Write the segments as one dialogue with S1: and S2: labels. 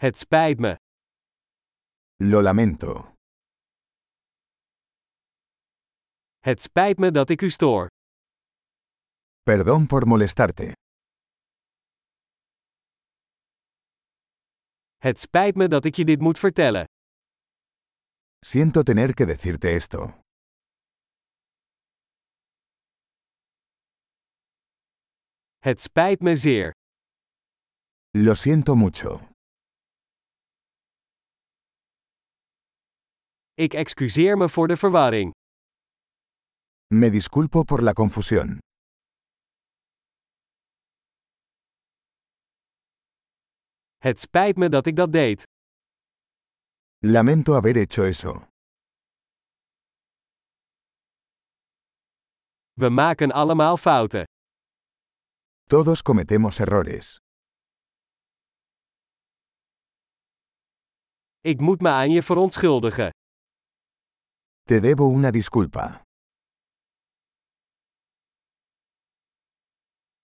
S1: Het spijt me.
S2: Lo lamento.
S1: Het spijt me dat ik u stoor.
S2: Perdón por molestarte.
S1: Het spijt me dat ik je dit moet vertellen.
S2: Siento tener que decirte esto.
S1: Het spijt me zeer.
S2: Lo siento mucho.
S1: Ik excuseer me voor de verwarring.
S2: Me disculpo por la confusión.
S1: Het spijt me dat ik dat deed.
S2: Lamento haber hecho eso.
S1: We maken allemaal fouten.
S2: Todos cometemos errores.
S1: Ik moet me aan je verontschuldigen.
S2: Te debo una disculpa.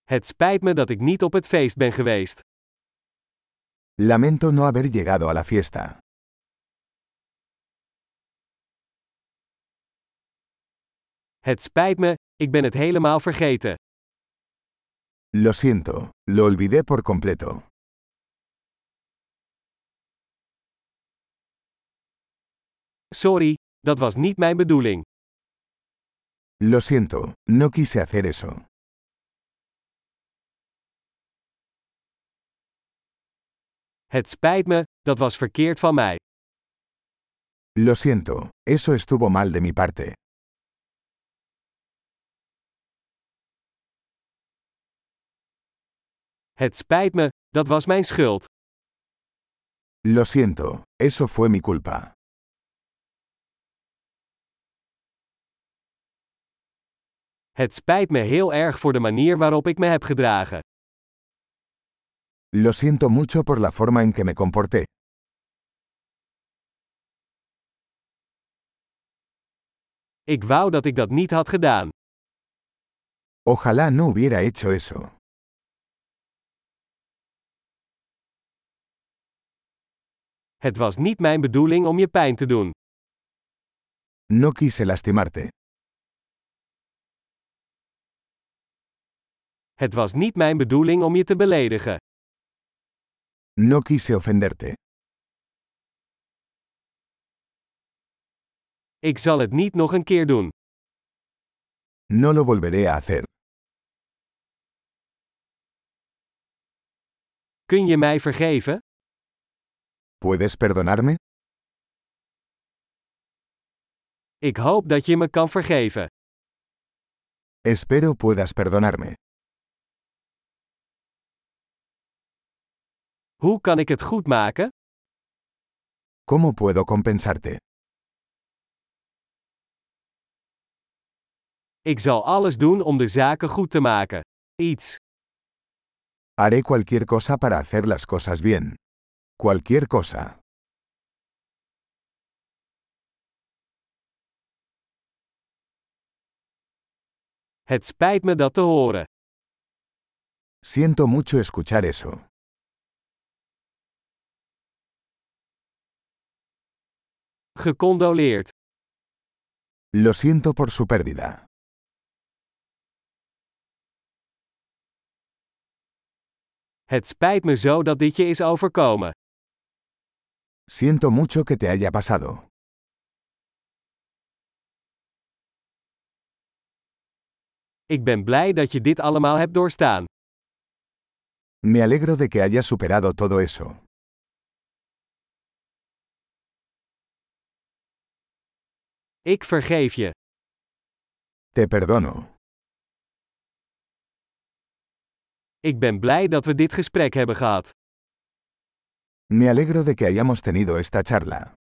S1: Het spijt me dat ik niet op het feest ben geweest.
S2: Lamento no haber llegado a la fiesta.
S1: Het spijt me, ik ben het helemaal vergeten.
S2: Lo siento, lo olvidé por completo.
S1: Sorry, dat was niet mijn bedoeling.
S2: Lo siento, no quise hacer eso.
S1: Het spijt me, dat was verkeerd van mij.
S2: Lo siento, eso estuvo mal de mi parte.
S1: Het spijt me, dat was mijn schuld.
S2: Lo siento, eso fue mi culpa.
S1: Het spijt me heel erg voor de manier waarop ik me heb gedragen.
S2: Lo siento mucho por la forma en que me comporté.
S1: Ik wou dat ik dat niet had gedaan.
S2: Ojalá no hubiera hecho eso.
S1: Het was niet mijn bedoeling om je pijn te doen.
S2: No quise lastimarte.
S1: Het was niet mijn bedoeling om je te beledigen.
S2: No quise ofenderte.
S1: Ik zal het niet nog een keer doen.
S2: No lo volveré a hacer.
S1: Kun je mij vergeven?
S2: ¿Puedes perdonarme?
S1: Ik hoop dat je me kan vergeven.
S2: Espero puedas perdonarme.
S1: Hoe kan ik het goed maken?
S2: ¿Cómo puedo compensarte?
S1: Ik zal alles doen om de zaken goed te maken. Iets.
S2: Haré cualquier cosa para hacer las cosas bien. Cualquier cosa.
S1: Het spijt me dat te horen.
S2: Siento mucho escuchar eso.
S1: Gecondoleerd.
S2: Lo siento por su pérdida.
S1: Het spijt me zo dat dit je is overkomen.
S2: Siento mucho que te haya pasado.
S1: Ik ben blij dat je dit allemaal hebt doorstaan.
S2: Me alegro de que hayas superado todo eso.
S1: Ik vergeef je.
S2: Te perdono.
S1: Ik ben blij dat we dit gesprek hebben gehad.
S2: Me alegro de que hayamos tenido esta charla.